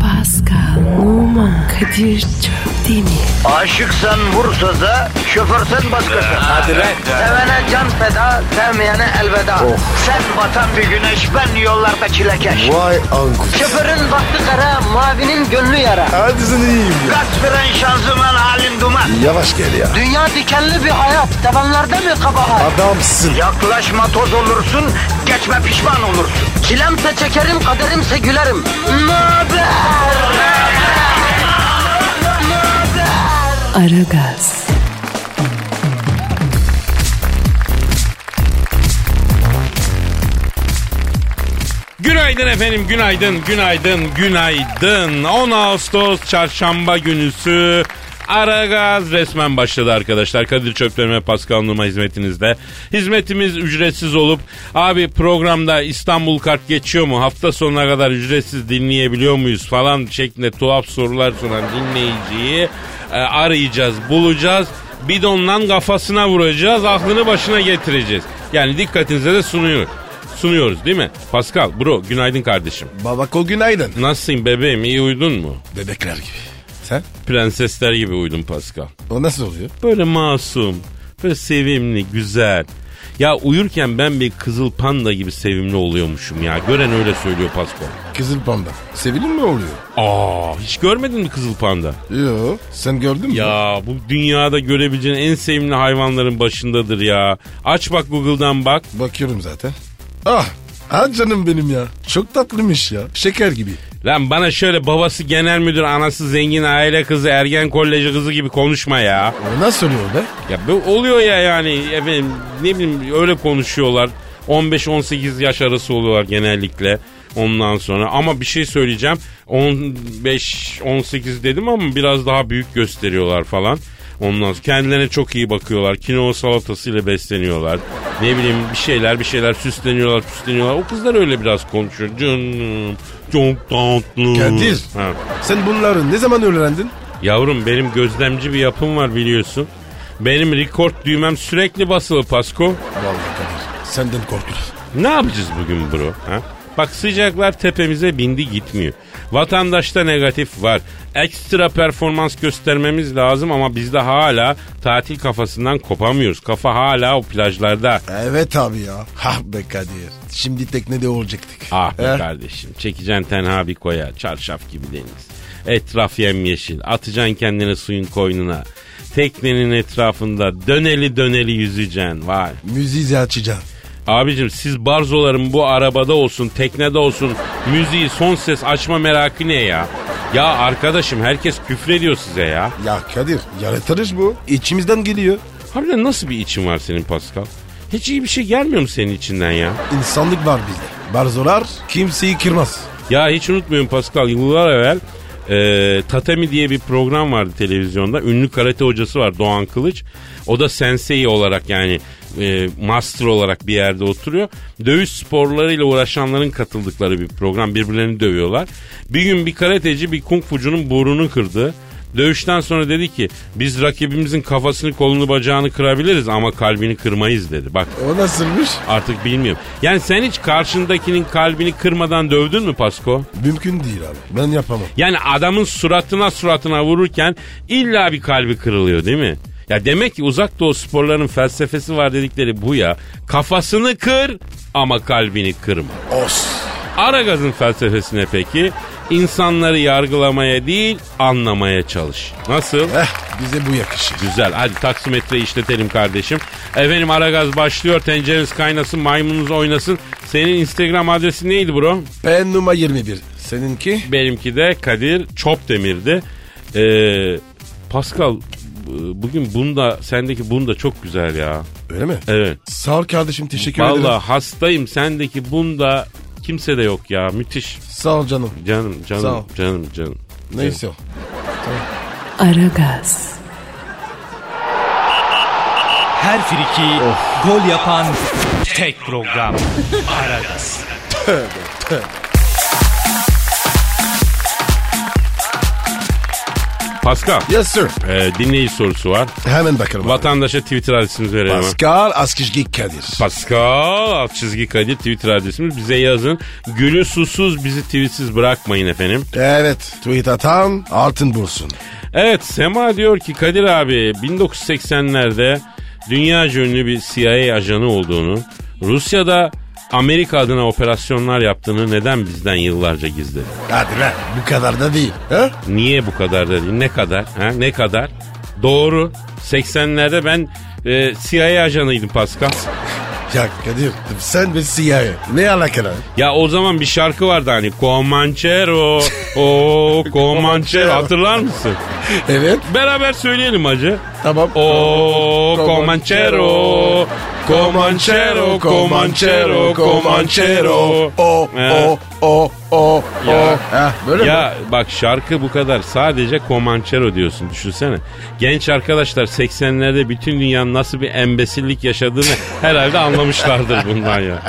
Pascal, Oman, Kadir çok değil mi? Aşıksan vursa da şoförsen başkasın. Hadi lan. Oh. Sevene can feda, sevmeyene elveda. Sen batan bir güneş, ben yollarda çilekeş. Vay anku. Şoförün baktı kara, mavinin gönlü yara. Hadi sen iyiyim ya. Kasperen şanzıman halin duman. Yavaş gel ya. Dünya dikenli bir hayat, sevenlerde mi kabahar? Adamsın. Yaklaşma toz olursun, geçme pişman olursun. Çilemse çekerim, kaderimse gülerim. Möber! Aragaz, Günaydın efendim, günaydın, günaydın, günaydın. 10 Ağustos çarşamba günüsü. Aragaz resmen başladı arkadaşlar. Kadir Çöpleri ve Pascal Numa hizmetinizde. Hizmetimiz ücretsiz olup abi programda İstanbul kart geçiyor mu? Hafta sonuna kadar ücretsiz dinleyebiliyor muyuz falan şeklinde tuhaf sorular soran dinleyiciyi e, arayacağız, bulacağız. Bidonla kafasına vuracağız, aklını başına getireceğiz. Yani dikkatinize de sunuyor sunuyoruz değil mi? Pascal, bro günaydın kardeşim. Babako günaydın. Nasılsın bebeğim iyi uyudun mu? Bebekler gibi. Sen? Prensesler gibi uyudun Pascal. O nasıl oluyor? Böyle masum, böyle sevimli, güzel. Ya uyurken ben bir kızıl panda gibi sevimli oluyormuşum ya. Gören öyle söylüyor Pascal. Kızıl panda. Sevilir mi oluyor? Aa hiç görmedin mi kızıl panda? Yo. Sen gördün mü? Ya bu dünyada görebileceğin en sevimli hayvanların başındadır ya. Aç bak Google'dan bak. Bakıyorum zaten. Ah. Ah canım benim ya. Çok tatlımış ya. Şeker gibi. Lan bana şöyle babası genel müdür, anası zengin aile kızı, ergen koleji kızı gibi konuşma ya. O nasıl oluyor be? Ya bu oluyor ya yani efendim ne bileyim öyle konuşuyorlar. 15-18 yaş arası oluyorlar genellikle ondan sonra. Ama bir şey söyleyeceğim. 15-18 dedim ama biraz daha büyük gösteriyorlar falan. Ondan sonra kendilerine çok iyi bakıyorlar. Kinoa salatasıyla besleniyorlar. Ne bileyim bir şeyler bir şeyler süsleniyorlar süsleniyorlar. O kızlar öyle biraz konuşuyor. Canım çok tatlı. Kadir. Ha. Sen bunları ne zaman öğrendin? Yavrum benim gözlemci bir yapım var biliyorsun. Benim rekord düğmem sürekli basılı Pasko. Vallahi Kadir. Senden korkuyorum. Ne yapacağız bugün bro? Ha? Bak sıcaklar tepemize bindi gitmiyor. Vatandaşta negatif var. Ekstra performans göstermemiz lazım ama biz de hala tatil kafasından kopamıyoruz. Kafa hala o plajlarda. Evet abi ya. Ha Ah be Kadir. Şimdi teknede olacaktık. Eh, Ah be He? kardeşim çekeceksin tenha bir koya çarşaf gibi deniz. Etraf yemyeşil atacaksın kendini suyun koynuna. Teknenin etrafında döneli döneli yüzeceksin vay. Müziği de açacağım. Abicim siz barzoların bu arabada olsun teknede olsun müziği son ses açma merakı ne ya? Ya arkadaşım herkes küfrediyor size ya. Ya Kadir yaratırız bu. İçimizden geliyor. Harbiden nasıl bir için var senin Pascal? Hiç iyi bir şey gelmiyor mu senin içinden ya? İnsanlık var bizde. Barzolar kimseyi kırmaz. Ya hiç unutmuyorum Pascal yıllar evvel e, Tatami diye bir program vardı televizyonda. Ünlü karate hocası var Doğan Kılıç. O da sensei olarak yani e, master olarak bir yerde oturuyor. Dövüş sporlarıyla uğraşanların katıldıkları bir program. Birbirlerini dövüyorlar. Bir gün bir karateci bir kung fucunun burnunu kırdı. Dövüşten sonra dedi ki biz rakibimizin kafasını kolunu bacağını kırabiliriz ama kalbini kırmayız dedi. Bak O nasılmış? artık bilmiyorum. Yani sen hiç karşındakinin kalbini kırmadan dövdün mü Pasko? Mümkün değil abi. Ben yapamam. Yani adamın suratına suratına vururken illa bir kalbi kırılıyor değil mi? Ya demek ki uzak doğu sporlarının felsefesi var dedikleri bu ya. Kafasını kır ama kalbini kırma. Os. Aragaz'ın felsefesine peki insanları yargılamaya değil anlamaya çalış. Nasıl? Eh bize bu yakışır. Güzel. Hadi taksimetreyi işletelim kardeşim. Efendim Aragaz başlıyor. Tencereniz kaynasın, maymununuz oynasın. Senin Instagram adresi neydi bro? Ben numara 21. Seninki? Benimki de Kadir Çopdemir'di. Ee, Pascal b- bugün bunda sendeki bunda çok güzel ya. Öyle mi? Evet. Sağ ol kardeşim teşekkür ederim. Vallahi hastayım sendeki bunda kimse de yok ya. Müthiş. Sağ ol canım. Canım canım Sağ ol. canım canım. Neyse o. Aragaz, Her friki gol yapan tek program. Aragaz. Pascal. Yes sir. E, dinleyici sorusu var. Hemen bakalım. Vatandaşa Twitter adresimizi verelim. Pascal Askizgi Kadir. Pascal alt çizgi Kadir Twitter adresimiz bize yazın. Gülü susuz bizi tweetsiz bırakmayın efendim. evet. Tweet atan altın bulsun. Evet Sema diyor ki Kadir abi 1980'lerde dünya ünlü bir CIA ajanı olduğunu, Rusya'da Amerika adına operasyonlar yaptığını neden bizden yıllarca gizledi? Hadi lan bu kadar da değil. Ha? Niye bu kadar da değil? Ne kadar? Ha? Ne kadar? Doğru. 80'lerde ben e, CIA ajanıydım Pascal. Ya Kadir sen ve CIA ne alakalı? Ya o zaman bir şarkı vardı hani Comanchero, o Comanchero hatırlar mısın? Evet Beraber söyleyelim hacı. tamam. O Oh, Comanchero, Comanchero, Comanchero, Comanchero. O Ha. o o o o. Ya. Ha, böyle mi? Ya bak şarkı bu kadar sadece Comanchero diyorsun düşünsene. Genç arkadaşlar 80'lerde bütün dünyanın nasıl bir embesillik yaşadığını herhalde anlamışlardır bundan ya.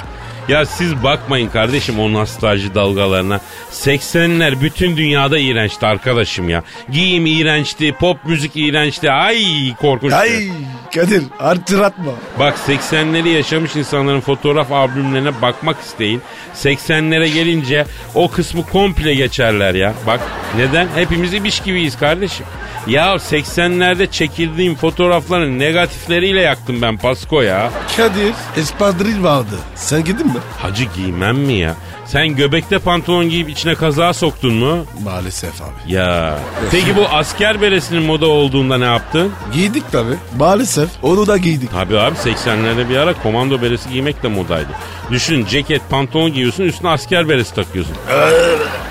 Ya siz bakmayın kardeşim o nostalji dalgalarına. 80'ler bütün dünyada iğrençti arkadaşım ya. Giyim iğrençti, pop müzik iğrençti. Ay korkunçtu. Ay Kadir artır atma. Bak 80'leri yaşamış insanların fotoğraf albümlerine bakmak isteyin. 80'lere gelince o kısmı komple geçerler ya. Bak neden? Hepimiz ibiş gibiyiz kardeşim. Ya 80'lerde çekildiğim fotoğrafların negatifleriyle yaktım ben Pasko ya. Kadir espadril vardı. Sen gidin mi? Hacı giymem mi ya? Sen göbekte pantolon giyip içine kaza soktun mu? Maalesef abi. Ya. Peki bu asker beresinin moda olduğunda ne yaptın? Giydik tabi. Maalesef onu da giydik. Tabii abi 80'lerde bir ara komando beresi giymek de modaydı. Düşün ceket pantolon giyiyorsun üstüne asker beresi takıyorsun.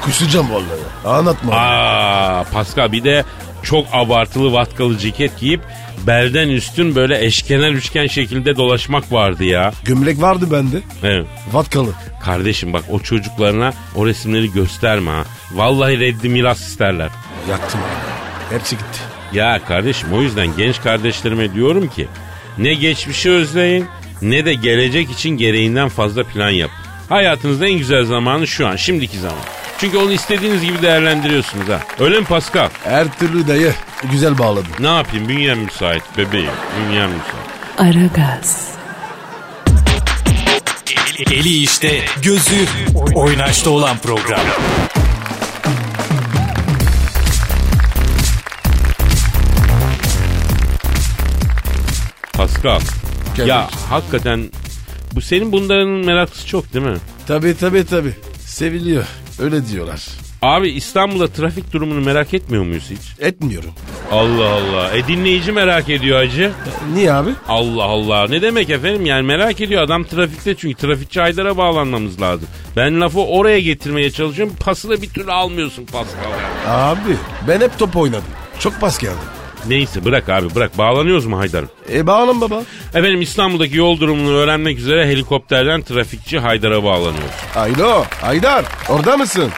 Kusacağım vallahi. Anlatma. Aa Pascal bir de çok abartılı vatkalı ceket giyip belden üstün böyle eşkenar üçgen şekilde dolaşmak vardı ya. Gömlek vardı bende. Evet. Vatkalı. Kardeşim bak o çocuklarına o resimleri gösterme ha. Vallahi reddi miras isterler. Yaktım abi. Hepsi gitti. Ya kardeşim o yüzden genç kardeşlerime diyorum ki ne geçmişi özleyin ne de gelecek için gereğinden fazla plan yapın. Hayatınızın en güzel zamanı şu an, şimdiki zaman. Çünkü onu istediğiniz gibi değerlendiriyorsunuz ha. Öyle mi Pascal? Her türlü dayı. Güzel bağladın. Ne yapayım? Bünyem müsait bebeğim. Bünyem müsait. Aragaz, Eli, eli işte, gözü oynaşta olan program. Pascal. Gel Ya bakayım. hakikaten bu senin bunların meraklısı çok değil mi? Tabi tabi tabi. Seviliyor. Öyle diyorlar. Abi İstanbul'da trafik durumunu merak etmiyor muyuz hiç? Etmiyorum. Allah Allah. E dinleyici merak ediyor hacı. Niye abi? Allah Allah. Ne demek efendim? Yani merak ediyor adam trafikte çünkü trafikçi Haydar'a bağlanmamız lazım. Ben lafı oraya getirmeye çalışıyorum. Pası da bir türlü almıyorsun Pascal. ya. Abi ben hep top oynadım. Çok pas geldi. Neyse bırak abi bırak. Bağlanıyoruz mu Haydar'ım? E bağlan baba. Efendim İstanbul'daki yol durumunu öğrenmek üzere helikopterden trafikçi Haydar'a bağlanıyoruz. Aylo, Aydar orada mısın?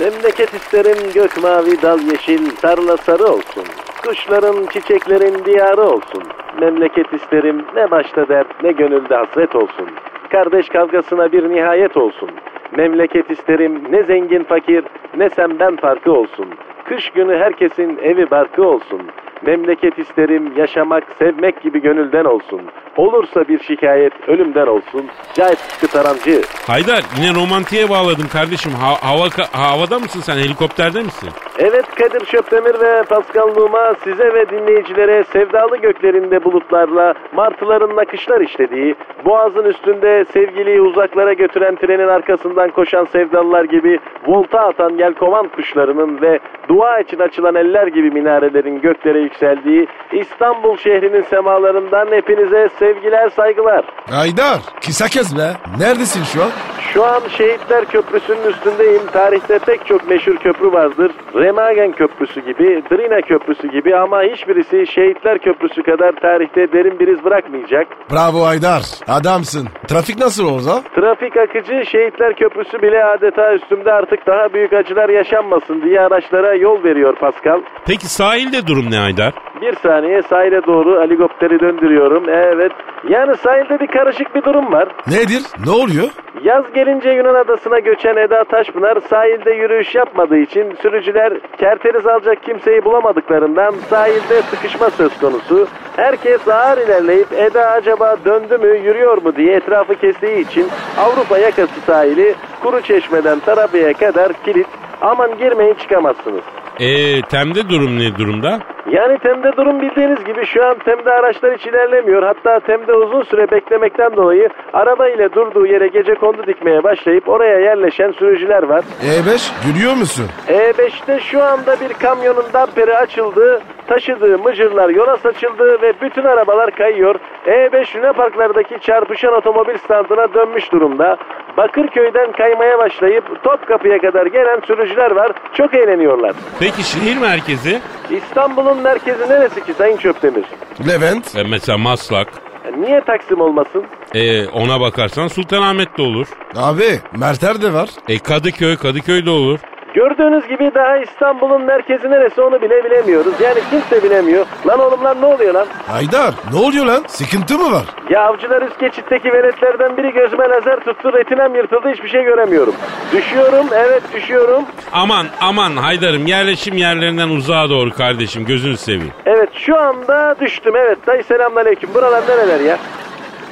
Memleket isterim gök mavi dal yeşil tarla sarı olsun. Kuşların çiçeklerin diyarı olsun. Memleket isterim ne başta dert ne gönülde hasret olsun. Kardeş kavgasına bir nihayet olsun. Memleket isterim ne zengin fakir ne sen ben farkı olsun. Kış günü herkesin evi barkı olsun. Memleket isterim yaşamak sevmek gibi gönülden olsun. Olursa bir şikayet ölümden olsun. Cahit Sıtkı Tarancı. Haydar yine romantiğe bağladım kardeşim. Ha- hava ka- havada mısın sen? Helikopterde misin? Evet Kadir Şöpdemir ve Pascal Numa size ve dinleyicilere sevdalı göklerinde bulutlarla martıların nakışlar işlediği, boğazın üstünde sevgiliyi uzaklara götüren trenin arkasından koşan sevdalılar gibi volta atan yelkovan kuşlarının ve dua için açılan eller gibi minarelerin göklere yükseldiği İstanbul şehrinin semalarından hepinize sevgiler saygılar. Aydar, kısa kes be. Neredesin şu an? Şu an Şehitler Köprüsü'nün üstündeyim. Tarihte pek çok meşhur köprü vardır. Remagen Köprüsü gibi, Drina Köprüsü gibi ama hiçbirisi Şehitler Köprüsü kadar tarihte derin bir iz bırakmayacak. Bravo Aydar, adamsın. Trafik nasıl orada? Trafik akıcı Şehitler Köprüsü bile adeta üstümde artık daha büyük acılar yaşanmasın diye araçlara yol veriyor Pascal. Peki sahilde durum ne Haydar? Bir saniye sahile doğru helikopteri döndürüyorum. Evet. Yani sahilde bir karışık bir durum var. Nedir? Ne oluyor? Yaz gelince Yunan adasına göçen Eda Taşpınar sahilde yürüyüş yapmadığı için sürücüler kerteriz alacak kimseyi bulamadıklarından sahilde sıkışma söz konusu. Herkes ağır ilerleyip Eda acaba döndü mü yürüyor mu diye etrafı kestiği için Avrupa yakası sahili kuru çeşmeden Tarabya'ya kadar kilit aman girmeyin çıkamazsınız. E, Tem'de durum ne durumda? Yani TEM'de durum bildiğiniz gibi şu an TEM'de araçlar hiç ilerlemiyor. Hatta TEM'de uzun süre beklemekten dolayı araba ile durduğu yere gece kondu dikmeye başlayıp oraya yerleşen sürücüler var. E5 E gülüyor musun? E5'te şu anda bir kamyonun damperi açıldı, taşıdığı mıcırlar yola saçıldı ve bütün arabalar kayıyor. E5 Lüne Parklardaki çarpışan otomobil standına dönmüş durumda. Bakırköy'den kaymaya başlayıp Topkapı'ya kadar gelen sürücüler var. Çok eğleniyorlar. Peki şehir merkezi? İstanbul'un merkezi neresi ki Sayın Çöptemir? Levent. E, mesela Maslak. E, Niye Taksim olmasın? E, ona bakarsan Sultanahmet de olur. Abi Mertler de var. E, Kadıköy, Kadıköy de olur. Gördüğünüz gibi daha İstanbul'un merkezi neresi onu bile bilemiyoruz. Yani kimse bilemiyor. Lan oğlum lan ne oluyor lan? Haydar ne oluyor lan? Sıkıntı mı var? Ya avcılar üst geçitteki veletlerden biri gözüme lazer tuttu retinem yırtıldı hiçbir şey göremiyorum. Düşüyorum evet düşüyorum. Aman aman Haydar'ım yerleşim yerlerinden uzağa doğru kardeşim gözünü seveyim. Evet şu anda düştüm evet dayı selamünaleyküm. Buralar nereler ya?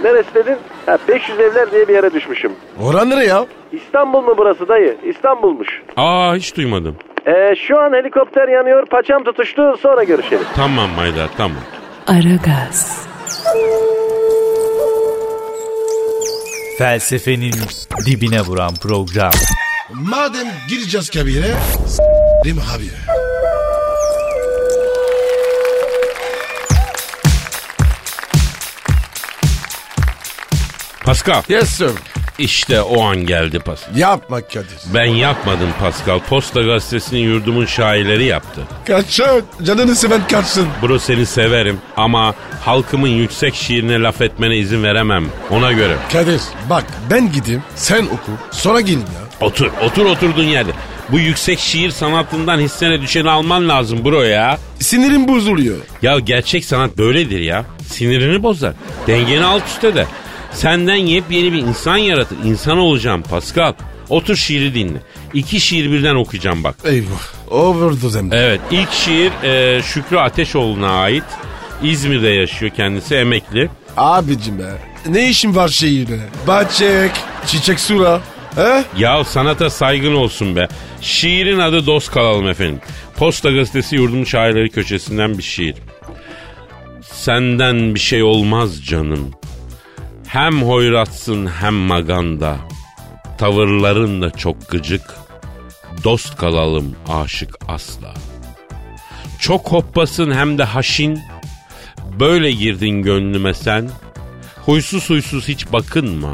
Neresi dedin? Ha 500 evler diye bir yere düşmüşüm. Oran nereye ya? İstanbul mu burası dayı? İstanbul'muş. Aa hiç duymadım. Ee, şu an helikopter yanıyor paçam tutuştu sonra görüşelim. Tamam Haydar tamam. Aragaz, Felsefenin dibine vuran program. Madem gireceğiz kabire. Değil mi abi? Pascal Yes sir. işte o an geldi Pascal. Yapma Kadir. Ben yapmadım Pascal. Posta gazetesini yurdumun şairleri yaptı. Kaçın. Canını seven kaçsın. Bro seni severim ama halkımın yüksek şiirine laf etmene izin veremem. Ona göre. Kadir bak ben gideyim sen oku sonra gelin ya. Otur, otur oturduğun yerde. Bu yüksek şiir sanatından hissene düşeni alman lazım bro ya. Sinirim bozuluyor. Ya gerçek sanat böyledir ya. Sinirini bozar. Dengeni alt üst eder. Senden yepyeni bir insan yaratır. İnsan olacağım Pascal. Otur şiiri dinle. İki şiir birden okuyacağım bak. Eyvah. Overdose hem de. Evet ilk şiir e, Şükrü Ateşoğlu'na ait. İzmir'de yaşıyor kendisi emekli. Abicim be. Ne işin var şehirde? Bahçek, çiçek sura. He? Ya sanata saygın olsun be. Şiirin adı Dost Kalalım efendim. Posta gazetesi yurdum şairleri köşesinden bir şiir. Senden bir şey olmaz canım. Hem hoyratsın hem maganda. Tavırların da çok gıcık. Dost kalalım aşık asla. Çok hoppasın hem de haşin. Böyle girdin gönlüme sen. Huysuz huysuz hiç bakınma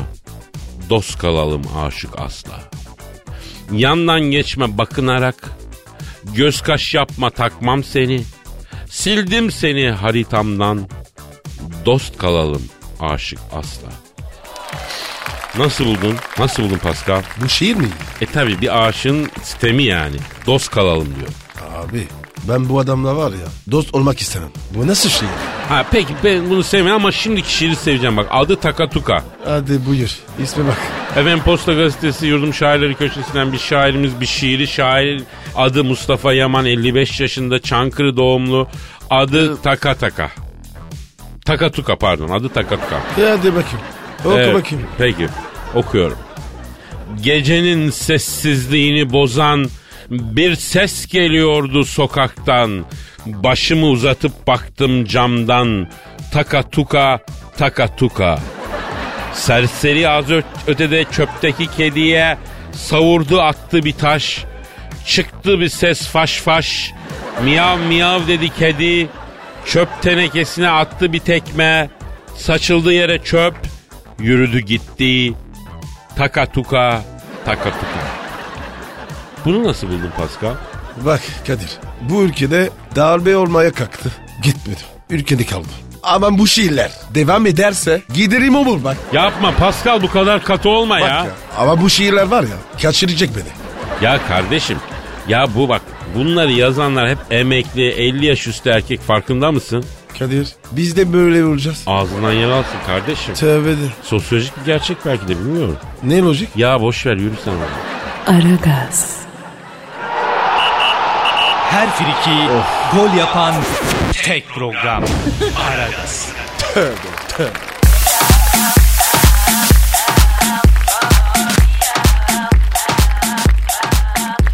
dost kalalım aşık asla. Yandan geçme bakınarak, göz kaş yapma takmam seni, sildim seni haritamdan, dost kalalım aşık asla. Nasıl buldun? Nasıl buldun Pascal? Bu şehir mi? E tabi bir aşığın sistemi yani. Dost kalalım diyor. Abi ben bu adamla var ya dost olmak istemem. Bu nasıl şehir? Ha peki ben bunu sevmiyorum ama şimdiki şiiri seveceğim bak. Adı Takatuka. Hadi buyur isme bak. Efendim Posta Gazetesi Yurdum Şairleri Köşesi'nden bir şairimiz bir şiiri şair adı Mustafa Yaman 55 yaşında Çankırı doğumlu adı Taka Taka. Taka Tuka pardon adı Taka Tuka. Hadi bakayım. Oku Evet, bakayım. Peki okuyorum. Gecenin sessizliğini bozan bir ses geliyordu sokaktan. Başımı uzatıp baktım camdan. Taka tuka, taka tuka. Serseri az ö- ötede çöpteki kediye savurdu attı bir taş. Çıktı bir ses faş faş. Miyav miyav dedi kedi. Çöp tenekesine attı bir tekme. Saçıldı yere çöp. Yürüdü gitti. Taka tuka, taka tuka. Bunu nasıl buldun Pascal? Bak Kadir bu ülkede darbe olmaya kalktı. Gitmedim. Ülkede kaldım. Ama bu şiirler devam ederse giderim olur bak. Yapma Pascal bu kadar katı olma Bak ya. ya. Ama bu şiirler var ya kaçıracak beni. Ya kardeşim ya bu bak bunları yazanlar hep emekli 50 yaş üstü erkek farkında mısın? Kadir biz de böyle olacağız. Ağzından yer alsın kardeşim. Tövbe de. Sosyolojik bir gerçek belki de bilmiyorum. Ne lojik? Ya boş ver yürü sen oraya. Aragaz, Her friki gol yapan tek program. Aragaz.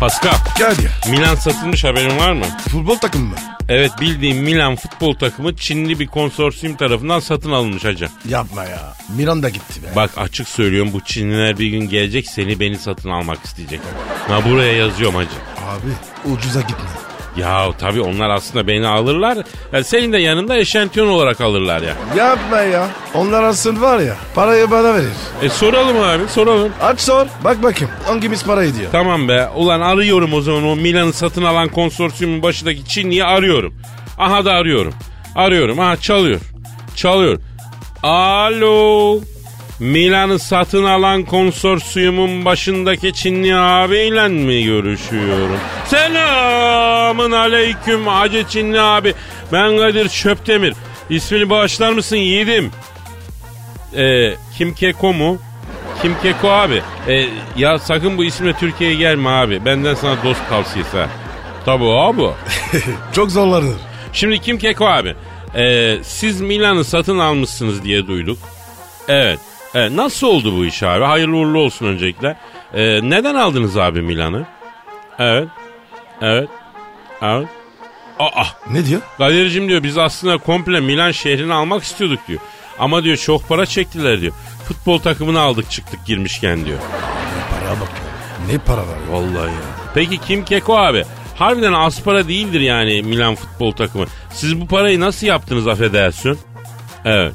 Pascal, Kadir Milan satılmış haberin var mı? futbol takımı mı? Evet bildiğim Milan futbol takımı Çinli bir konsorsiyum tarafından satın alınmış hacı. Yapma ya. Miranda gitti be. Bak açık söylüyorum bu Çinliler bir gün gelecek seni beni satın almak isteyecek. Ha buraya yazıyorum hacı. Abi ucuza gitme. Ya tabii onlar aslında beni alırlar. Ya senin de yanında eşantiyon olarak alırlar ya. Yapma ya. Onlar asıl var ya parayı bana verir. E soralım abi soralım. Aç sor. Bak bakayım hangimiz para ediyor. Tamam be. Ulan arıyorum o zaman o Milan'ı satın alan konsorsiyumun başındaki Çinli'yi arıyorum. Aha da arıyorum. Arıyorum. Aha çalıyor. Çalıyor. Alo. Milan'ı satın alan konsorsiyumun başındaki Çinli abiyle mi görüşüyorum? Selamın aleyküm Hacı Çinli abi. Ben Kadir Çöptemir. İsmini bağışlar mısın yiğidim? Ee, Kim Keko mu? Kim Keko abi. Ee, ya sakın bu isimle Türkiye'ye gelme abi. Benden sana dost tavsiyesi ha. Tabii abi. Çok zorlanır. Şimdi Kim Keko abi. ee, siz Milan'ı satın almışsınız diye duyduk. Evet. Evet, nasıl oldu bu iş abi? Hayırlı uğurlu olsun öncelikle. Ee, neden aldınız abi Milan'ı? Evet. Evet. Evet. Aa. Ne diyor? Kadir'cim diyor biz aslında komple Milan şehrini almak istiyorduk diyor. Ama diyor çok para çektiler diyor. Futbol takımını aldık çıktık girmişken diyor. Para bak ya. Ne para var ya? Vallahi ya. Peki Kim Keko abi? Harbiden az para değildir yani Milan futbol takımı. Siz bu parayı nasıl yaptınız affedersin? Evet.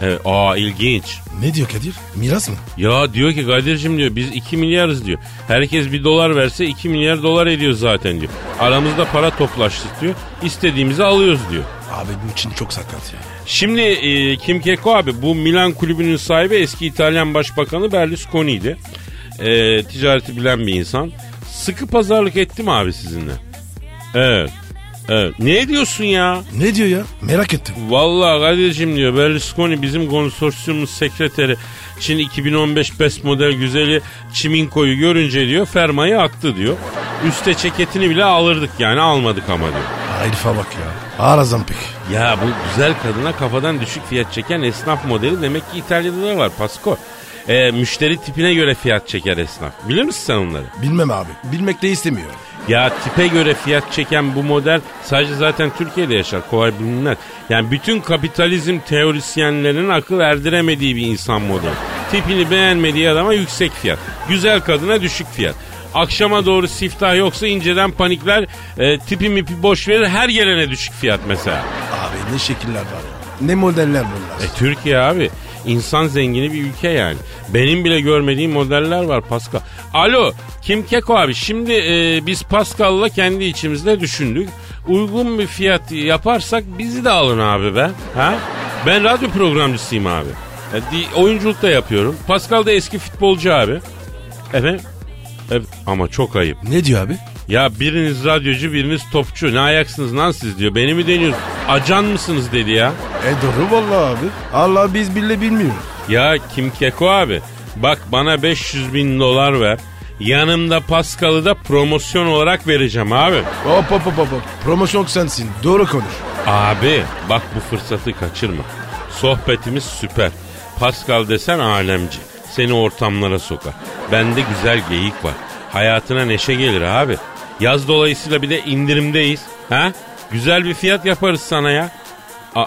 Evet. Aa ilginç. Ne diyor Kadir? Miras mı? Ya diyor ki Kadir'cim diyor biz 2 milyarız diyor. Herkes bir dolar verse 2 milyar dolar ediyor zaten diyor. Aramızda para toplaştık diyor. İstediğimizi alıyoruz diyor. Abi bu için çok sakat ya. Şimdi e, Kim Keko abi bu Milan kulübünün sahibi eski İtalyan başbakanı Berlusconi'ydi. E, ticareti bilen bir insan. Sıkı pazarlık etti mi abi sizinle? Evet. Evet. Ne diyorsun ya? Ne diyor ya? Merak ettim. Vallahi Kadir'cim diyor Berlusconi bizim konsorsiyumun sekreteri Çin 2015 best model güzeli Çiminko'yu görünce diyor fermayı attı diyor. Üste ceketini bile alırdık yani almadık ama diyor. Herife bak ya. Arazam pek. Ya bu güzel kadına kafadan düşük fiyat çeken esnaf modeli demek ki İtalya'da da var Pasko. Ee, müşteri tipine göre fiyat çeker esnaf. Bilir misin sen onları? Bilmem abi. Bilmek de istemiyorum. Ya tipe göre fiyat çeken bu model sadece zaten Türkiye'de yaşar. Kolay bilinmez. Yani bütün kapitalizm teorisyenlerinin akıl erdiremediği bir insan modeli. Tipini beğenmediği adama yüksek fiyat. Güzel kadına düşük fiyat. Akşama doğru siftah yoksa inceden panikler e, tipi mipi boş verir her gelene düşük fiyat mesela. Abi ne şekiller var ya. Ne modeller bunlar. E Türkiye abi insan zengini bir ülke yani. Benim bile görmediğim modeller var Pascal. Alo Kim Keko abi şimdi e, biz Pascal'la kendi içimizde düşündük. Uygun bir fiyat yaparsak bizi de alın abi be. Ha? Ben radyo programcısıyım abi. E, di- oyunculuk da yapıyorum. Pascal da eski futbolcu abi. Efendim? Evet, ama çok ayıp. Ne diyor abi? Ya biriniz radyocu biriniz topçu. Ne ayaksınız lan siz diyor. Beni mi deniyorsunuz? Acan mısınız dedi ya. E doğru vallahi abi. Allah biz bile bilmiyoruz. Ya Kim Keko abi bak bana 500 bin dolar ver. Yanımda Pascal'ı da promosyon olarak vereceğim abi. Hop hop hop hop. hop. Promosyon sensin. Doğru konuş. Abi bak bu fırsatı kaçırma. Sohbetimiz süper. Pascal desen alemci. Seni ortamlara sokar. Bende güzel geyik var. Hayatına neşe gelir abi. Yaz dolayısıyla bir de indirimdeyiz. Ha? Güzel bir fiyat yaparız sana ya. A-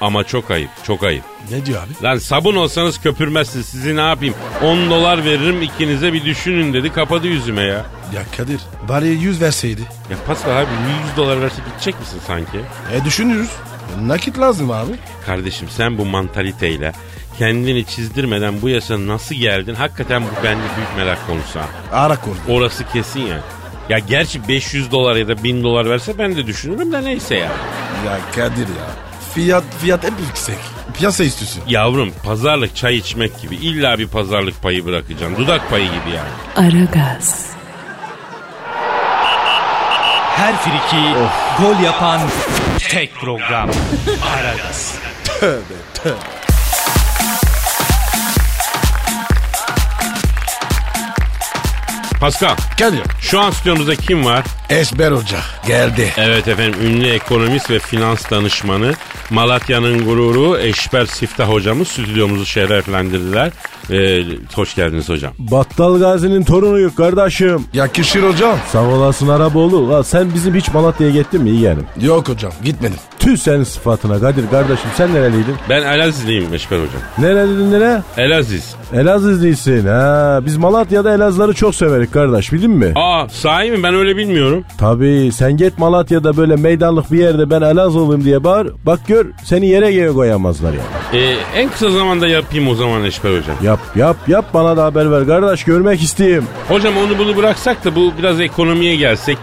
ama çok ayıp, çok ayıp. Ne diyor abi? Lan sabun olsanız köpürmezsiniz sizi ne yapayım 10 dolar veririm ikinize bir düşünün dedi kapadı yüzüme ya. Ya Kadir bari 100 verseydi. Ya Pascal abi 100 dolar verse gidecek misin sanki? E düşünürüz. Nakit lazım abi. Kardeşim sen bu mantaliteyle kendini çizdirmeden bu yaşa nasıl geldin hakikaten bu bende büyük merak konusu ha. Ara konu. Orası kesin ya. Ya gerçi 500 dolar ya da 1000 dolar verse ben de düşünürüm de neyse ya. Ya Kadir ya. Fiyat fiyat hep yüksek. Piyasa üstüsü. Yavrum pazarlık çay içmek gibi illa bir pazarlık payı bırakacaksın. Dudak payı gibi yani. Aragaz, her friki, gol yapan tek program. Aragaz. Pascal Kadir. şu an stüdyomuzda kim var? Esber Hoca geldi. Evet efendim ünlü ekonomist ve finans danışmanı Malatya'nın gururu Eşber Siftah hocamız stüdyomuzu şereflendirdiler. Ee, hoş geldiniz hocam. Battal Gazi'nin torunuyuk kardeşim. Yakışır hocam. Sağ olasın Araboğlu. La sen bizim hiç Malatya'ya gittin mi yeğenim? Yok hocam gitmedim. Tüh senin sıfatına Kadir kardeşim sen nereliydin? Ben Elazizliyim Eşber hocam. Nereliydin nere? Elaziz. Elazizlisin ha. Biz Malatya'da Elazları çok severiz kardeş bildin mi? Aa sahi mi ben öyle bilmiyorum. Tabii sen git Malatya'da böyle meydanlık bir yerde ben Elaz olayım diye bağır. Bak gör seni yere göğe koyamazlar yani. Ee, en kısa zamanda yapayım o zaman Eşber hocam. Yap yap yap bana da haber ver kardeş görmek isteyeyim. Hocam onu bunu bıraksak da bu biraz ekonomiye gelsek.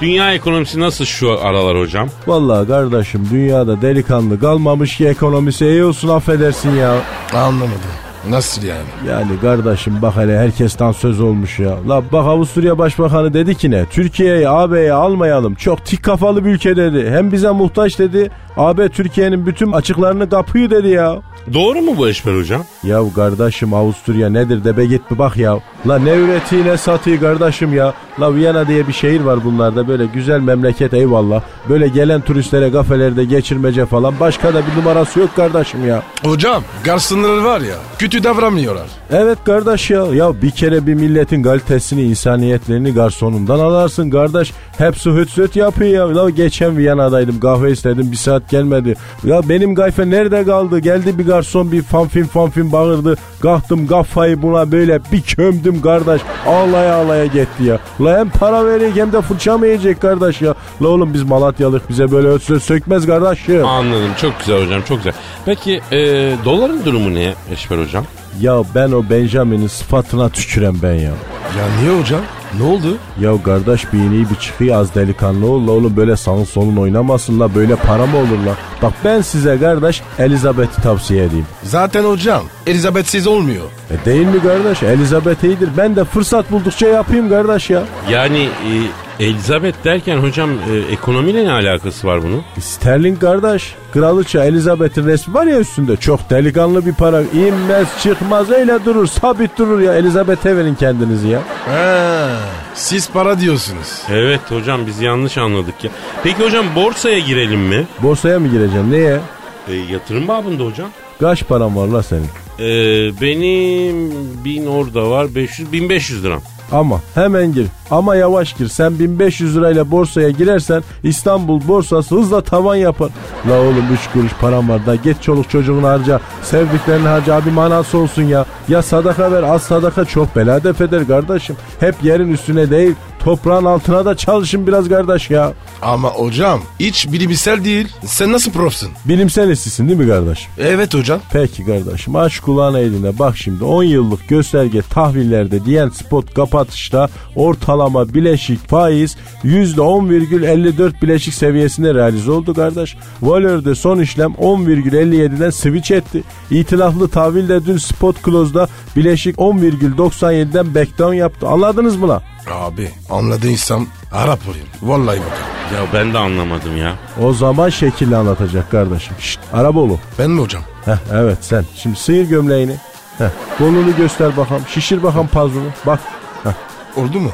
Dünya ekonomisi nasıl şu aralar hocam? Vallahi kardeşim dünyada delikanlı kalmamış ki ekonomisi iyi olsun affedersin ya. Anlamadım. Nasıl yani? Yani kardeşim bak hele herkesten söz olmuş ya. La bak Avusturya Başbakanı dedi ki ne? Türkiye'yi AB'ye almayalım. Çok tik kafalı bir ülke dedi. Hem bize muhtaç dedi. AB Türkiye'nin bütün açıklarını kapıyor dedi ya. Doğru mu bu Eşber hocam? Ya kardeşim Avusturya nedir de be git bir bak ya. La ne üretiyor ne satıyor kardeşim ya. La Viyana diye bir şehir var bunlarda böyle güzel memleket eyvallah. Böyle gelen turistlere kafelerde geçirmece falan başka da bir numarası yok kardeşim ya. Hocam garsonlar var ya kötü davranmıyorlar. Evet kardeş ya. Ya bir kere bir milletin kalitesini, insaniyetlerini garsonundan alarsın kardeş. Hepsi hüt hüt yapıyor ya. La geçen Viyana'daydım kahve istedim bir saat gelmedi. Ya benim gayfe nerede kaldı? Geldi bir garson bir fanfin fanfin bağırdı. Kalktım kafayı buna böyle bir kömdüm kardeş. Ağlaya ağlaya gitti ya. La hem para verecek hem de fırça mı yiyecek kardeş ya? La oğlum biz Malatyalık bize böyle öt söz sökmez kardeş ya. Anladım çok güzel hocam çok güzel. Peki e, doların durumu ne Eşber hocam? Ya ben o Benjamin'in sıfatına tüküren ben ya. Ya niye hocam? Ne oldu? Ya kardeş bir ineği bir çıkıyor az delikanlı ol la oğlum böyle sağın solun oynamasın la böyle para mı olur la? Bak ben size kardeş Elizabeth'i tavsiye edeyim. Zaten hocam Elizabeth'siz olmuyor. E değil mi kardeş Elizabeth iyidir ben de fırsat buldukça yapayım kardeş ya. Yani e, Elizabeth derken hocam e, ekonomiyle ne alakası var bunun? E Sterling kardeş kraliçe Elizabeth'in resmi var ya üstünde çok delikanlı bir para inmez çıkmaz öyle durur sabit durur ya Elizabeth'e verin kendinizi ya. Ha, siz para diyorsunuz. Evet hocam biz yanlış anladık ya. Peki hocam borsaya girelim mi? Borsaya mı gireceğim neye? E, yatırım babında hocam. Kaç param var la senin? E, benim bin orada var 500 1500 liram. Ama hemen gir. Ama yavaş gir. Sen 1500 lirayla borsaya girersen İstanbul borsası hızla tavan yapar. La oğlum 3 kuruş param var da geç çoluk çocuğunu harca. Sevdiklerini harca bir manası olsun ya. Ya sadaka ver az sadaka çok bela def eder kardeşim. Hep yerin üstüne değil toprağın altına da çalışın biraz kardeş ya. Ama hocam hiç bilimsel değil. Sen nasıl profsun? Bilimsel istisin değil mi kardeş? Evet hocam. Peki kardeşim aç kulağına eline bak şimdi 10 yıllık gösterge tahvillerde diyen spot kapatışta ortalama bileşik faiz %10,54 bileşik seviyesinde realize oldu kardeş. Valör'de son işlem 10,57'den switch etti. İtilaflı tahvilde dün spot close'da bileşik 10,97'den backdown yaptı. Anladınız mı lan? Abi anladıysam Arap olayım. Vallahi bak. Ya ben de anlamadım ya. O zaman şekilli anlatacak kardeşim. Şşt Araboğlu. Ben mi hocam? Heh, evet sen. Şimdi sıyır gömleğini. Heh, kolunu göster bakalım. Şişir bakalım pazunu. Bak. Heh. Oldu mu?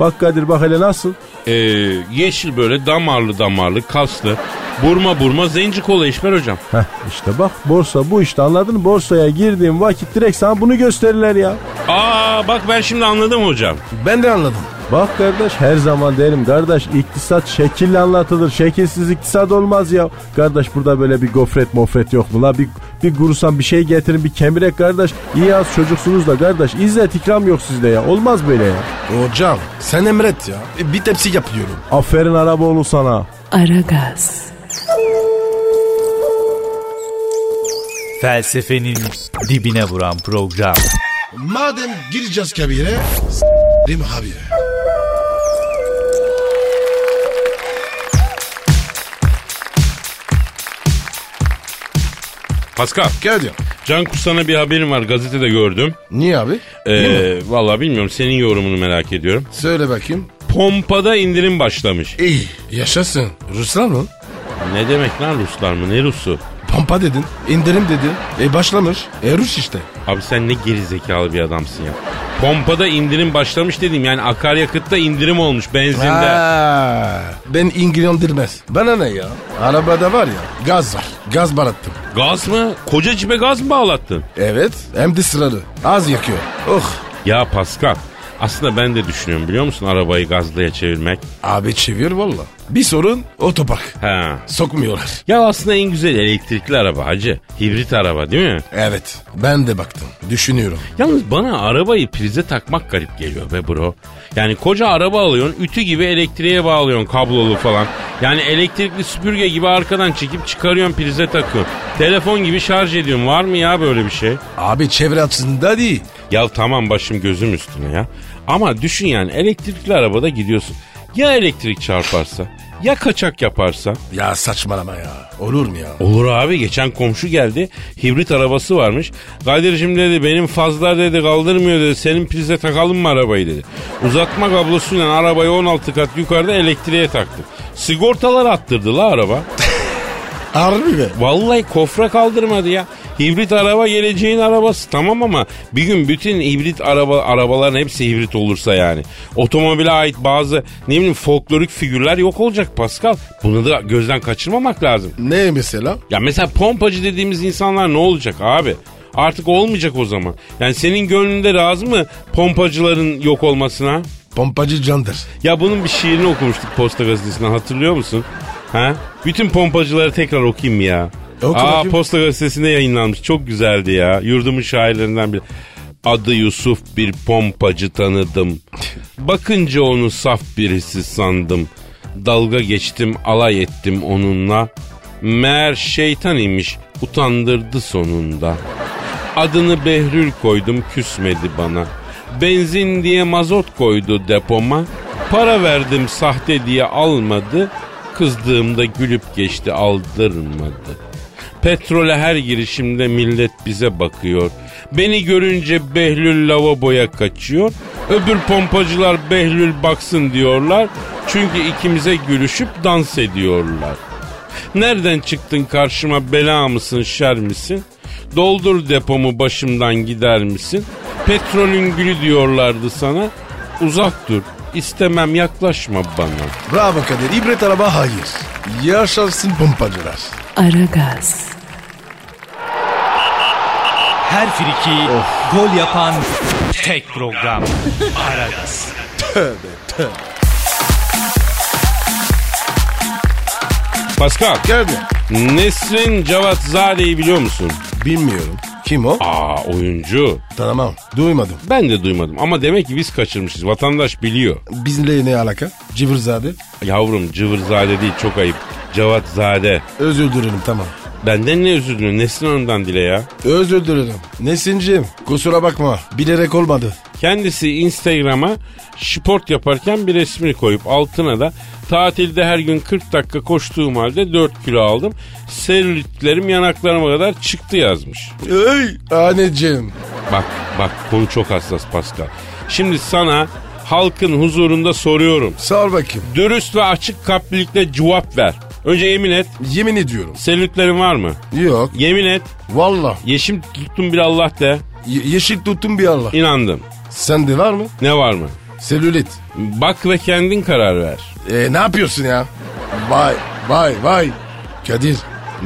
Bak Kadir bak hele nasıl? E, yeşil böyle damarlı damarlı kaslı burma burma zenci kola Eşber hocam. Heh, işte bak borsa bu işte anladın mı? Borsaya girdiğin vakit direkt sana bunu gösterirler ya. Aa bak ben şimdi anladım hocam. Ben de anladım. Bak kardeş her zaman derim kardeş iktisat şekille anlatılır. Şekilsiz iktisat olmaz ya. Kardeş burada böyle bir gofret mofret yok mu la? Bir, bir gurusan bir şey getirin bir kemirek kardeş. İyi az çocuksunuz da kardeş. İzzet ikram yok sizde ya. Olmaz böyle ya. Hocam sen emret ya. E, Bir tepsi yapıyorum. Aferin Araboğlu sana. Aragaz, Felsefenin dibine vuran program. Madem gireceğiz kabire. Rim abi. Pascal Gel diyor. Can Kusan'a bir haberim var gazetede gördüm. E, Niye abi? Ee, Vallahi bilmiyorum senin yorumunu merak ediyorum. Söyle bakayım. pompada indirim başlamış. İyi. Yaşasın. Ruslar mı? Ne demek lan Ruslar mı? Ne Rusu? Pompa dedin. indirim dedin. E başlamış. E Rus işte. Abi sen ne gerizekalı bir adamsın ya. Pompada indirim başlamış dedim. Yani akaryakıtta indirim olmuş benzinde. Aa, ben İngilizdirmez. Bana ne ya? Arabada var ya gaz var. Gaz barattım. Gaz mı? Koca cibe gaz mı bağlattın? Evet. Hem de sırarı. Az yakıyor. Oh. Ya Pascal aslında ben de düşünüyorum biliyor musun arabayı gazlıya çevirmek. Abi çevir valla. Bir sorun otopark. Ha. Sokmuyorlar. Ya aslında en güzel elektrikli araba hacı. Hibrit araba değil mi? Evet. Ben de baktım. Düşünüyorum. Yalnız bana arabayı prize takmak garip geliyor be bro. Yani koca araba alıyorsun ütü gibi elektriğe bağlıyorsun kablolu falan. Yani elektrikli süpürge gibi arkadan çekip çıkarıyorsun prize takıyorsun. Telefon gibi şarj ediyorsun var mı ya böyle bir şey? Abi çevre açısında değil. Ya tamam başım gözüm üstüne ya. Ama düşün yani elektrikli arabada gidiyorsun. Ya elektrik çarparsa? Ya kaçak yaparsa? Ya saçmalama ya. Olur mu ya? Olur abi geçen komşu geldi. Hibrit arabası varmış. Kadir'cim dedi benim fazlar dedi kaldırmıyor dedi. Senin prize takalım mı arabayı dedi. Uzatma kablosuyla arabayı 16 kat yukarıda elektriğe taktım. Sigortalar attırdı la araba. Harbi mi? Vallahi kofra kaldırmadı ya. Hibrit araba geleceğin arabası tamam ama bir gün bütün hibrit araba arabaların hepsi hibrit olursa yani. Otomobile ait bazı ne bileyim folklorik figürler yok olacak Pascal. Bunu da gözden kaçırmamak lazım. Ne mesela? Ya mesela pompacı dediğimiz insanlar ne olacak abi? Artık olmayacak o zaman. Yani senin gönlünde razı mı pompacıların yok olmasına? Pompacı candır. Ya bunun bir şiirini okumuştuk Posta Gazetesi'nden hatırlıyor musun? Ha? Bütün pompacıları tekrar okuyayım mı ya? E, Oku Aa, bakayım. Posta Gazetesi'nde yayınlanmış. Çok güzeldi ya. Yurdumun şairlerinden biri. Adı Yusuf bir pompacı tanıdım. Bakınca onu saf birisi sandım. Dalga geçtim, alay ettim onunla. Meğer şeytan imiş, utandırdı sonunda. Adını Behrül koydum, küsmedi bana. Benzin diye mazot koydu depoma. Para verdim sahte diye almadı. Kızdığımda gülüp geçti, aldırmadı. Petrole her girişimde millet bize bakıyor. Beni görünce Behlül lavaboya kaçıyor. Öbür pompacılar Behlül baksın diyorlar. Çünkü ikimize gülüşüp dans ediyorlar. Nereden çıktın karşıma bela mısın şer misin? Doldur depomu başımdan gider misin? Petrolün gülü diyorlardı sana. Uzak dur. İstemem yaklaşma bana. Bravo Kadir. İbret araba hayır. Yaşasın pompacılar. Aragaz, Her friki gol yapan tek program. Aragaz. Pascal, Gel mi? Nesrin Cavatzade'yi biliyor musun? Bilmiyorum. Kim o? Aa oyuncu. Tamam. Duymadım. Ben de duymadım ama demek ki biz kaçırmışız. Vatandaş biliyor. Bizimle ne alaka? Civirzade. Yavrum cıvırzade değil çok ayıp. Cevatzade. Özür dilerim tamam. Benden ne özür diliyorsun? Nesrin Hanım'dan dile ya. Özür dilerim. Nesincim kusura bakma. Bilerek olmadı. Kendisi Instagram'a sport yaparken bir resmini koyup altına da tatilde her gün 40 dakika koştuğum halde 4 kilo aldım. Selülitlerim yanaklarıma kadar çıktı yazmış. Ey anneciğim. Bak bak konu çok hassas Pascal. Şimdi sana halkın huzurunda soruyorum. Sor bakayım. Dürüst ve açık kalplilikle cevap ver. Önce yemin et. Yemin ediyorum. Selülitlerin var mı? Yok. Yemin et. Valla. Yeşim tuttum bir Allah de. Ye- yeşil tuttum bir Allah. İnandım. Sende var mı? Ne var mı? Selülit. Bak ve kendin karar ver. E, ne yapıyorsun ya? Vay vay vay. Kadir.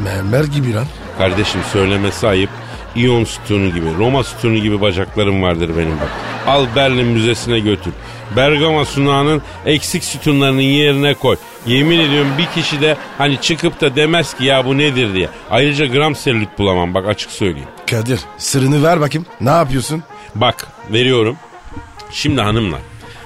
Mermer gibi lan. Kardeşim söylemesi ayıp. İyon sütunu gibi, Roma sütunu gibi bacaklarım vardır benim bak. Al Berlin Müzesi'ne götür. Bergama sunağının eksik sütunlarının yerine koy. Yemin ediyorum bir kişi de hani çıkıp da demez ki ya bu nedir diye. Ayrıca gram selülit bulamam bak açık söyleyeyim. Kadir sırrını ver bakayım. Ne yapıyorsun? Bak veriyorum. Şimdi hanımlar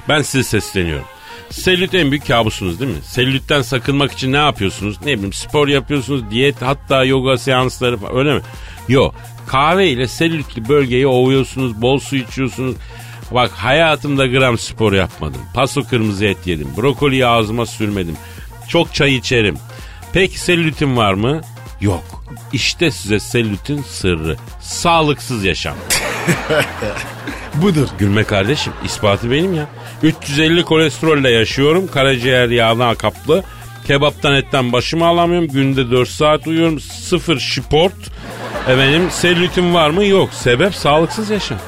ben size sesleniyorum. Selülit en büyük kabusunuz değil mi? Selülitten sakınmak için ne yapıyorsunuz? Ne bileyim spor yapıyorsunuz, diyet hatta yoga seansları falan öyle mi? Yok kahve ile selülitli bölgeyi ovuyorsunuz, bol su içiyorsunuz. Bak hayatımda gram spor yapmadım. Paso kırmızı et yedim. Brokoliyi ağzıma sürmedim. Çok çay içerim. Peki selülitim var mı? Yok. İşte size selülitin sırrı. Sağlıksız yaşam. Budur. Gülme kardeşim ispatı benim ya. 350 kolesterolle yaşıyorum. Karaciğer yağına kaplı. Kebaptan etten başımı alamıyorum. Günde 4 saat uyuyorum. Sıfır sport. Efendim selülitim var mı? Yok. Sebep sağlıksız yaşam.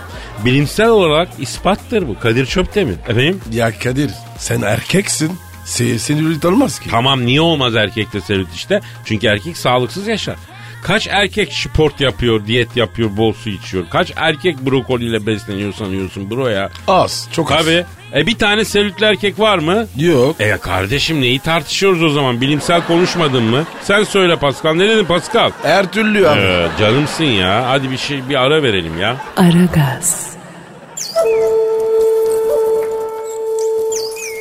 Bilimsel olarak ispattır bu. Kadir Çöptemir. Efendim? Ya Kadir sen erkeksin. Se sinirlik olmaz ki. Tamam niye olmaz erkekte selülit işte? Çünkü erkek sağlıksız yaşar. Kaç erkek sport yapıyor, diyet yapıyor, bol su içiyor? Kaç erkek brokoliyle besleniyor sanıyorsun bro ya? Az çok az. Tabii. E bir tane selülitli erkek var mı? Yok. E kardeşim neyi tartışıyoruz o zaman? Bilimsel konuşmadın mı? Sen söyle Pascal. Ne dedin Pascal? Her türlü abi. Ee, canımsın ya. Hadi bir şey bir ara verelim ya. Aragaz,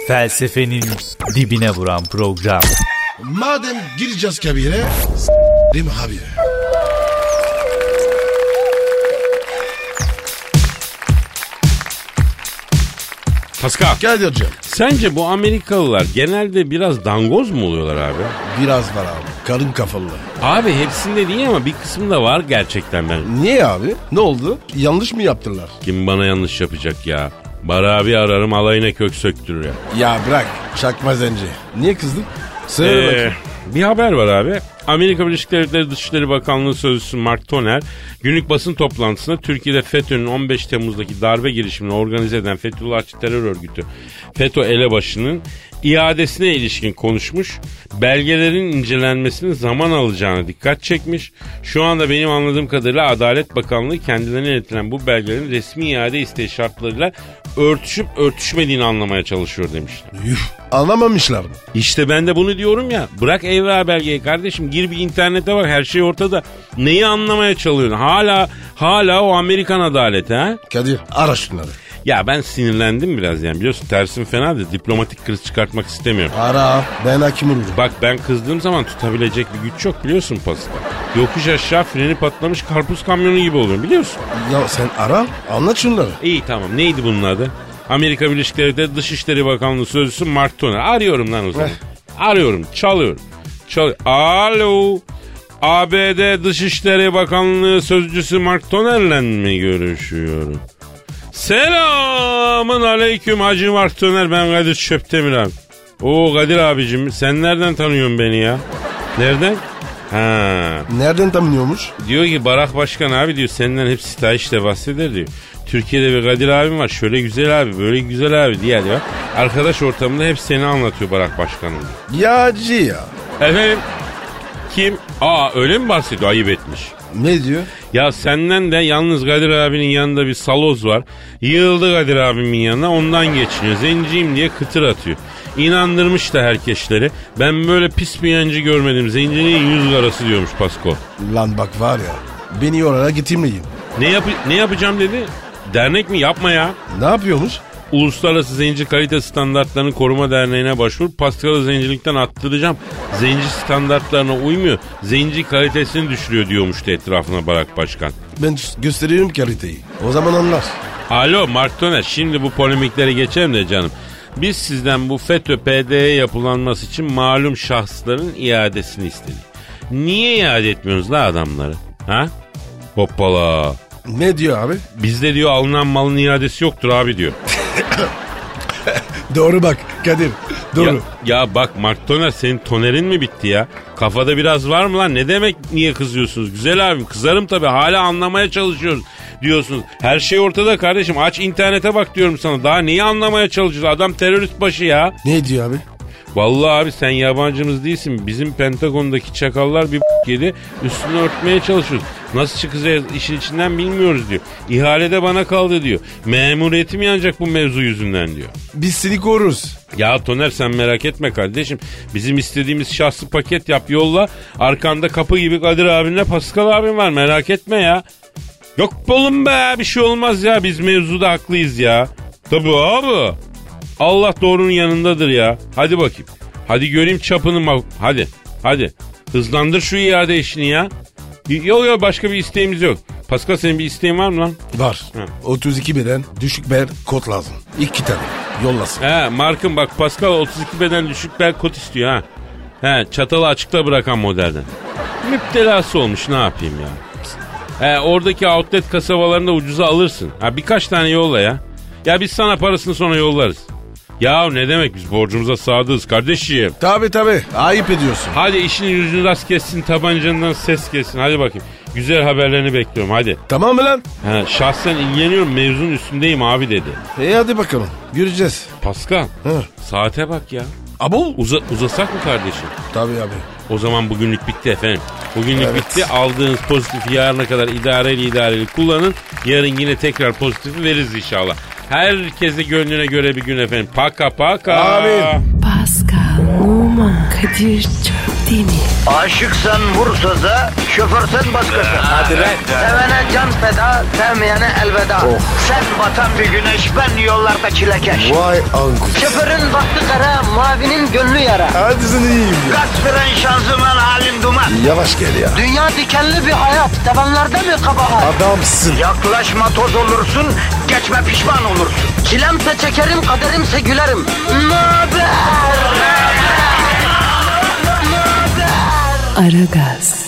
Felsefenin dibine vuran program. Madem gireceğiz kabire s**rim abi. Pascal. Kadir hocam. Sence bu Amerikalılar genelde biraz dangoz mu oluyorlar abi? Biraz var abi. Karın kafalı. Abi hepsinde değil ama bir kısmında var gerçekten ben. Niye abi? Ne oldu? Yanlış mı yaptılar? Kim bana yanlış yapacak ya? Bar abi ararım alayına kök söktürür ya. Ya bırak. Çakma zenci. Niye kızdın? Söyle Ee, bakayım. bir haber var abi. Amerika Birleşik Devletleri Dışişleri Bakanlığı Sözcüsü Mark Toner günlük basın toplantısında Türkiye'de FETÖ'nün 15 Temmuz'daki darbe girişimini organize eden Fethullahçı terör örgütü FETÖ elebaşının iadesine ilişkin konuşmuş. Belgelerin incelenmesinin zaman alacağına dikkat çekmiş. Şu anda benim anladığım kadarıyla Adalet Bakanlığı kendilerine iletilen bu belgelerin resmi iade isteği şartlarıyla örtüşüp örtüşmediğini anlamaya çalışıyor demişler. Yuh, Anlamamışlar mı? İşte ben de bunu diyorum ya. Bırak evra belgeyi kardeşim. Gir bir internete bak her şey ortada. Neyi anlamaya çalışıyorsun? Hala hala o Amerikan adaleti ha? Kadir ara şunları. Ya ben sinirlendim biraz yani biliyorsun tersim fena da diplomatik kriz çıkartmak istemiyorum. Ara. Ben hakim olurum. Bak ben kızdığım zaman tutabilecek bir güç yok biliyorsun Pascal. Yokuş aşağı freni patlamış karpuz kamyonu gibi oluyorum biliyorsun. Ya sen ara. Anlat şunları. İyi tamam neydi bunun adı? Amerika Birleşik Devletleri Dışişleri Bakanlığı Sözcüsü Mark Toner. Arıyorum lan o zaman. Arıyorum, çalıyorum. Çal Alo. ABD Dışişleri Bakanlığı Sözcüsü Mark Toner'le mi görüşüyorum? Selamın aleyküm Hacı Mark Toner ben Kadir Çöptemir abi. Oo Kadir abicim sen nereden tanıyorsun beni ya? Nereden? Ha. Nereden tanıyormuş? Diyor ki Barak Başkan abi diyor senden hep stajiste bahseder diyor. Türkiye'de bir Kadir abim var şöyle güzel abi böyle güzel abi diye diyor. Arkadaş ortamında hep seni anlatıyor Barak Başkan'ın. diyor. Yağcı ya. Efendim kim? Aa öyle mi bahsediyor ayıp etmiş. Ne diyor? Ya senden de yalnız Kadir abinin yanında bir saloz var. Yığıldı Kadir abimin yanına ondan geçiniyor. Zenciyim diye kıtır atıyor. İnandırmış da herkesleri. Ben böyle pis bir yancı görmedim. Zencinin yüz karası diyormuş Pasko. Lan bak var ya. Beni oraya getirmeyin. Ne, yap- ne yapacağım dedi. Dernek mi? Yapma ya. Ne yapıyormuş? Uluslararası Zenci Kalite Standartlarını Koruma Derneği'ne başvur. Paskal'ı zencilikten attıracağım. Zenci standartlarına uymuyor. Zenci kalitesini düşürüyor diyormuştu etrafına Barak Başkan. Ben gösteriyorum kaliteyi. O zaman anlar. Alo Mark Toner şimdi bu polemiklere geçelim de canım. Biz sizden bu FETÖ PD'ye yapılanması için malum şahısların iadesini istedik. Niye iade etmiyorsunuz la adamları? Ha? Hoppala. Ne diyor abi? Bizde diyor alınan malın iadesi yoktur abi diyor. Doğru bak Kadir. Doğru. Ya, ya bak Mark Toner senin tonerin mi bitti ya? Kafada biraz var mı lan? Ne demek niye kızıyorsunuz? Güzel abim kızarım tabii hala anlamaya çalışıyoruz diyorsunuz. Her şey ortada kardeşim aç internete bak diyorum sana. Daha neyi anlamaya çalışıyoruz? Adam terörist başı ya. Ne diyor abi? Vallahi abi sen yabancımız değilsin. Bizim Pentagon'daki çakallar bir yedi. Üstünü örtmeye çalışıyoruz. Nasıl çıkacağız işin içinden bilmiyoruz diyor. İhalede bana kaldı diyor. Memuriyetim yanacak bu mevzu yüzünden diyor. Biz seni koruruz. Ya Toner sen merak etme kardeşim. Bizim istediğimiz şahsı paket yap yolla. Arkanda kapı gibi Kadir abinle Pascal abin var merak etme ya. Yok be oğlum be bir şey olmaz ya biz mevzuda haklıyız ya. Tabii abi. Allah doğrunun yanındadır ya. Hadi bakayım. Hadi göreyim çapını ma- hadi hadi. Hızlandır şu iade işini ya. Y- Yok yok başka bir isteğimiz yok. Pascal senin bir isteğin var mı lan? Var. Hı. 32 beden düşük bel kod lazım. İki tane. Yollasın. He Mark'ın bak Pascal 32 beden düşük bel kot istiyor ha. He çatalı açıkta bırakan modelden. Müptelası olmuş ne yapayım ya. Pst. He oradaki outlet kasabalarında ucuza alırsın. Ha birkaç tane yolla ya. Ya biz sana parasını sonra yollarız. Ya ne demek biz borcumuza sadığız kardeşim. Tabi tabi ayıp ediyorsun. Hadi işinin yüzünü rast kessin tabancandan ses kessin hadi bakayım. Güzel haberlerini bekliyorum hadi. Tamam mı lan? Ha, şahsen ilgileniyorum mevzunun üstündeyim abi dedi. E hadi bakalım göreceğiz. Pascal Hı. saate bak ya. Abo. Uza, uzasak mı kardeşim? Tabi abi. O zaman bugünlük bitti efendim. Bugünlük bitti. Aldığınız pozitifi yarına kadar idareli idareli kullanın. Yarın yine tekrar pozitifi veririz inşallah. Herkese gönlüne göre bir gün efendim. Paka paka. Amin. Pascal, Oman, Kadir çok değil mi? Aşıksan vursa da, şoförsen başkasın. Hadi Sevene can feda, sevmeyene elveda. Sen batan bir güneş, ben yollarda çilekeş. Vay anku. Şoförün baktı kara, mavinin gönlü yara. Hadi sen iyiyim ya. Kasperen şanzıman halin duman. Yavaş gel ya. Dünya dikenli bir hayat, sevenlerde mi kabahar? Adamsın. Yaklaşma toz olursun, geçme pişman olursun. Çilemse çekerim, kaderimse gülerim. Möber! Aragaz.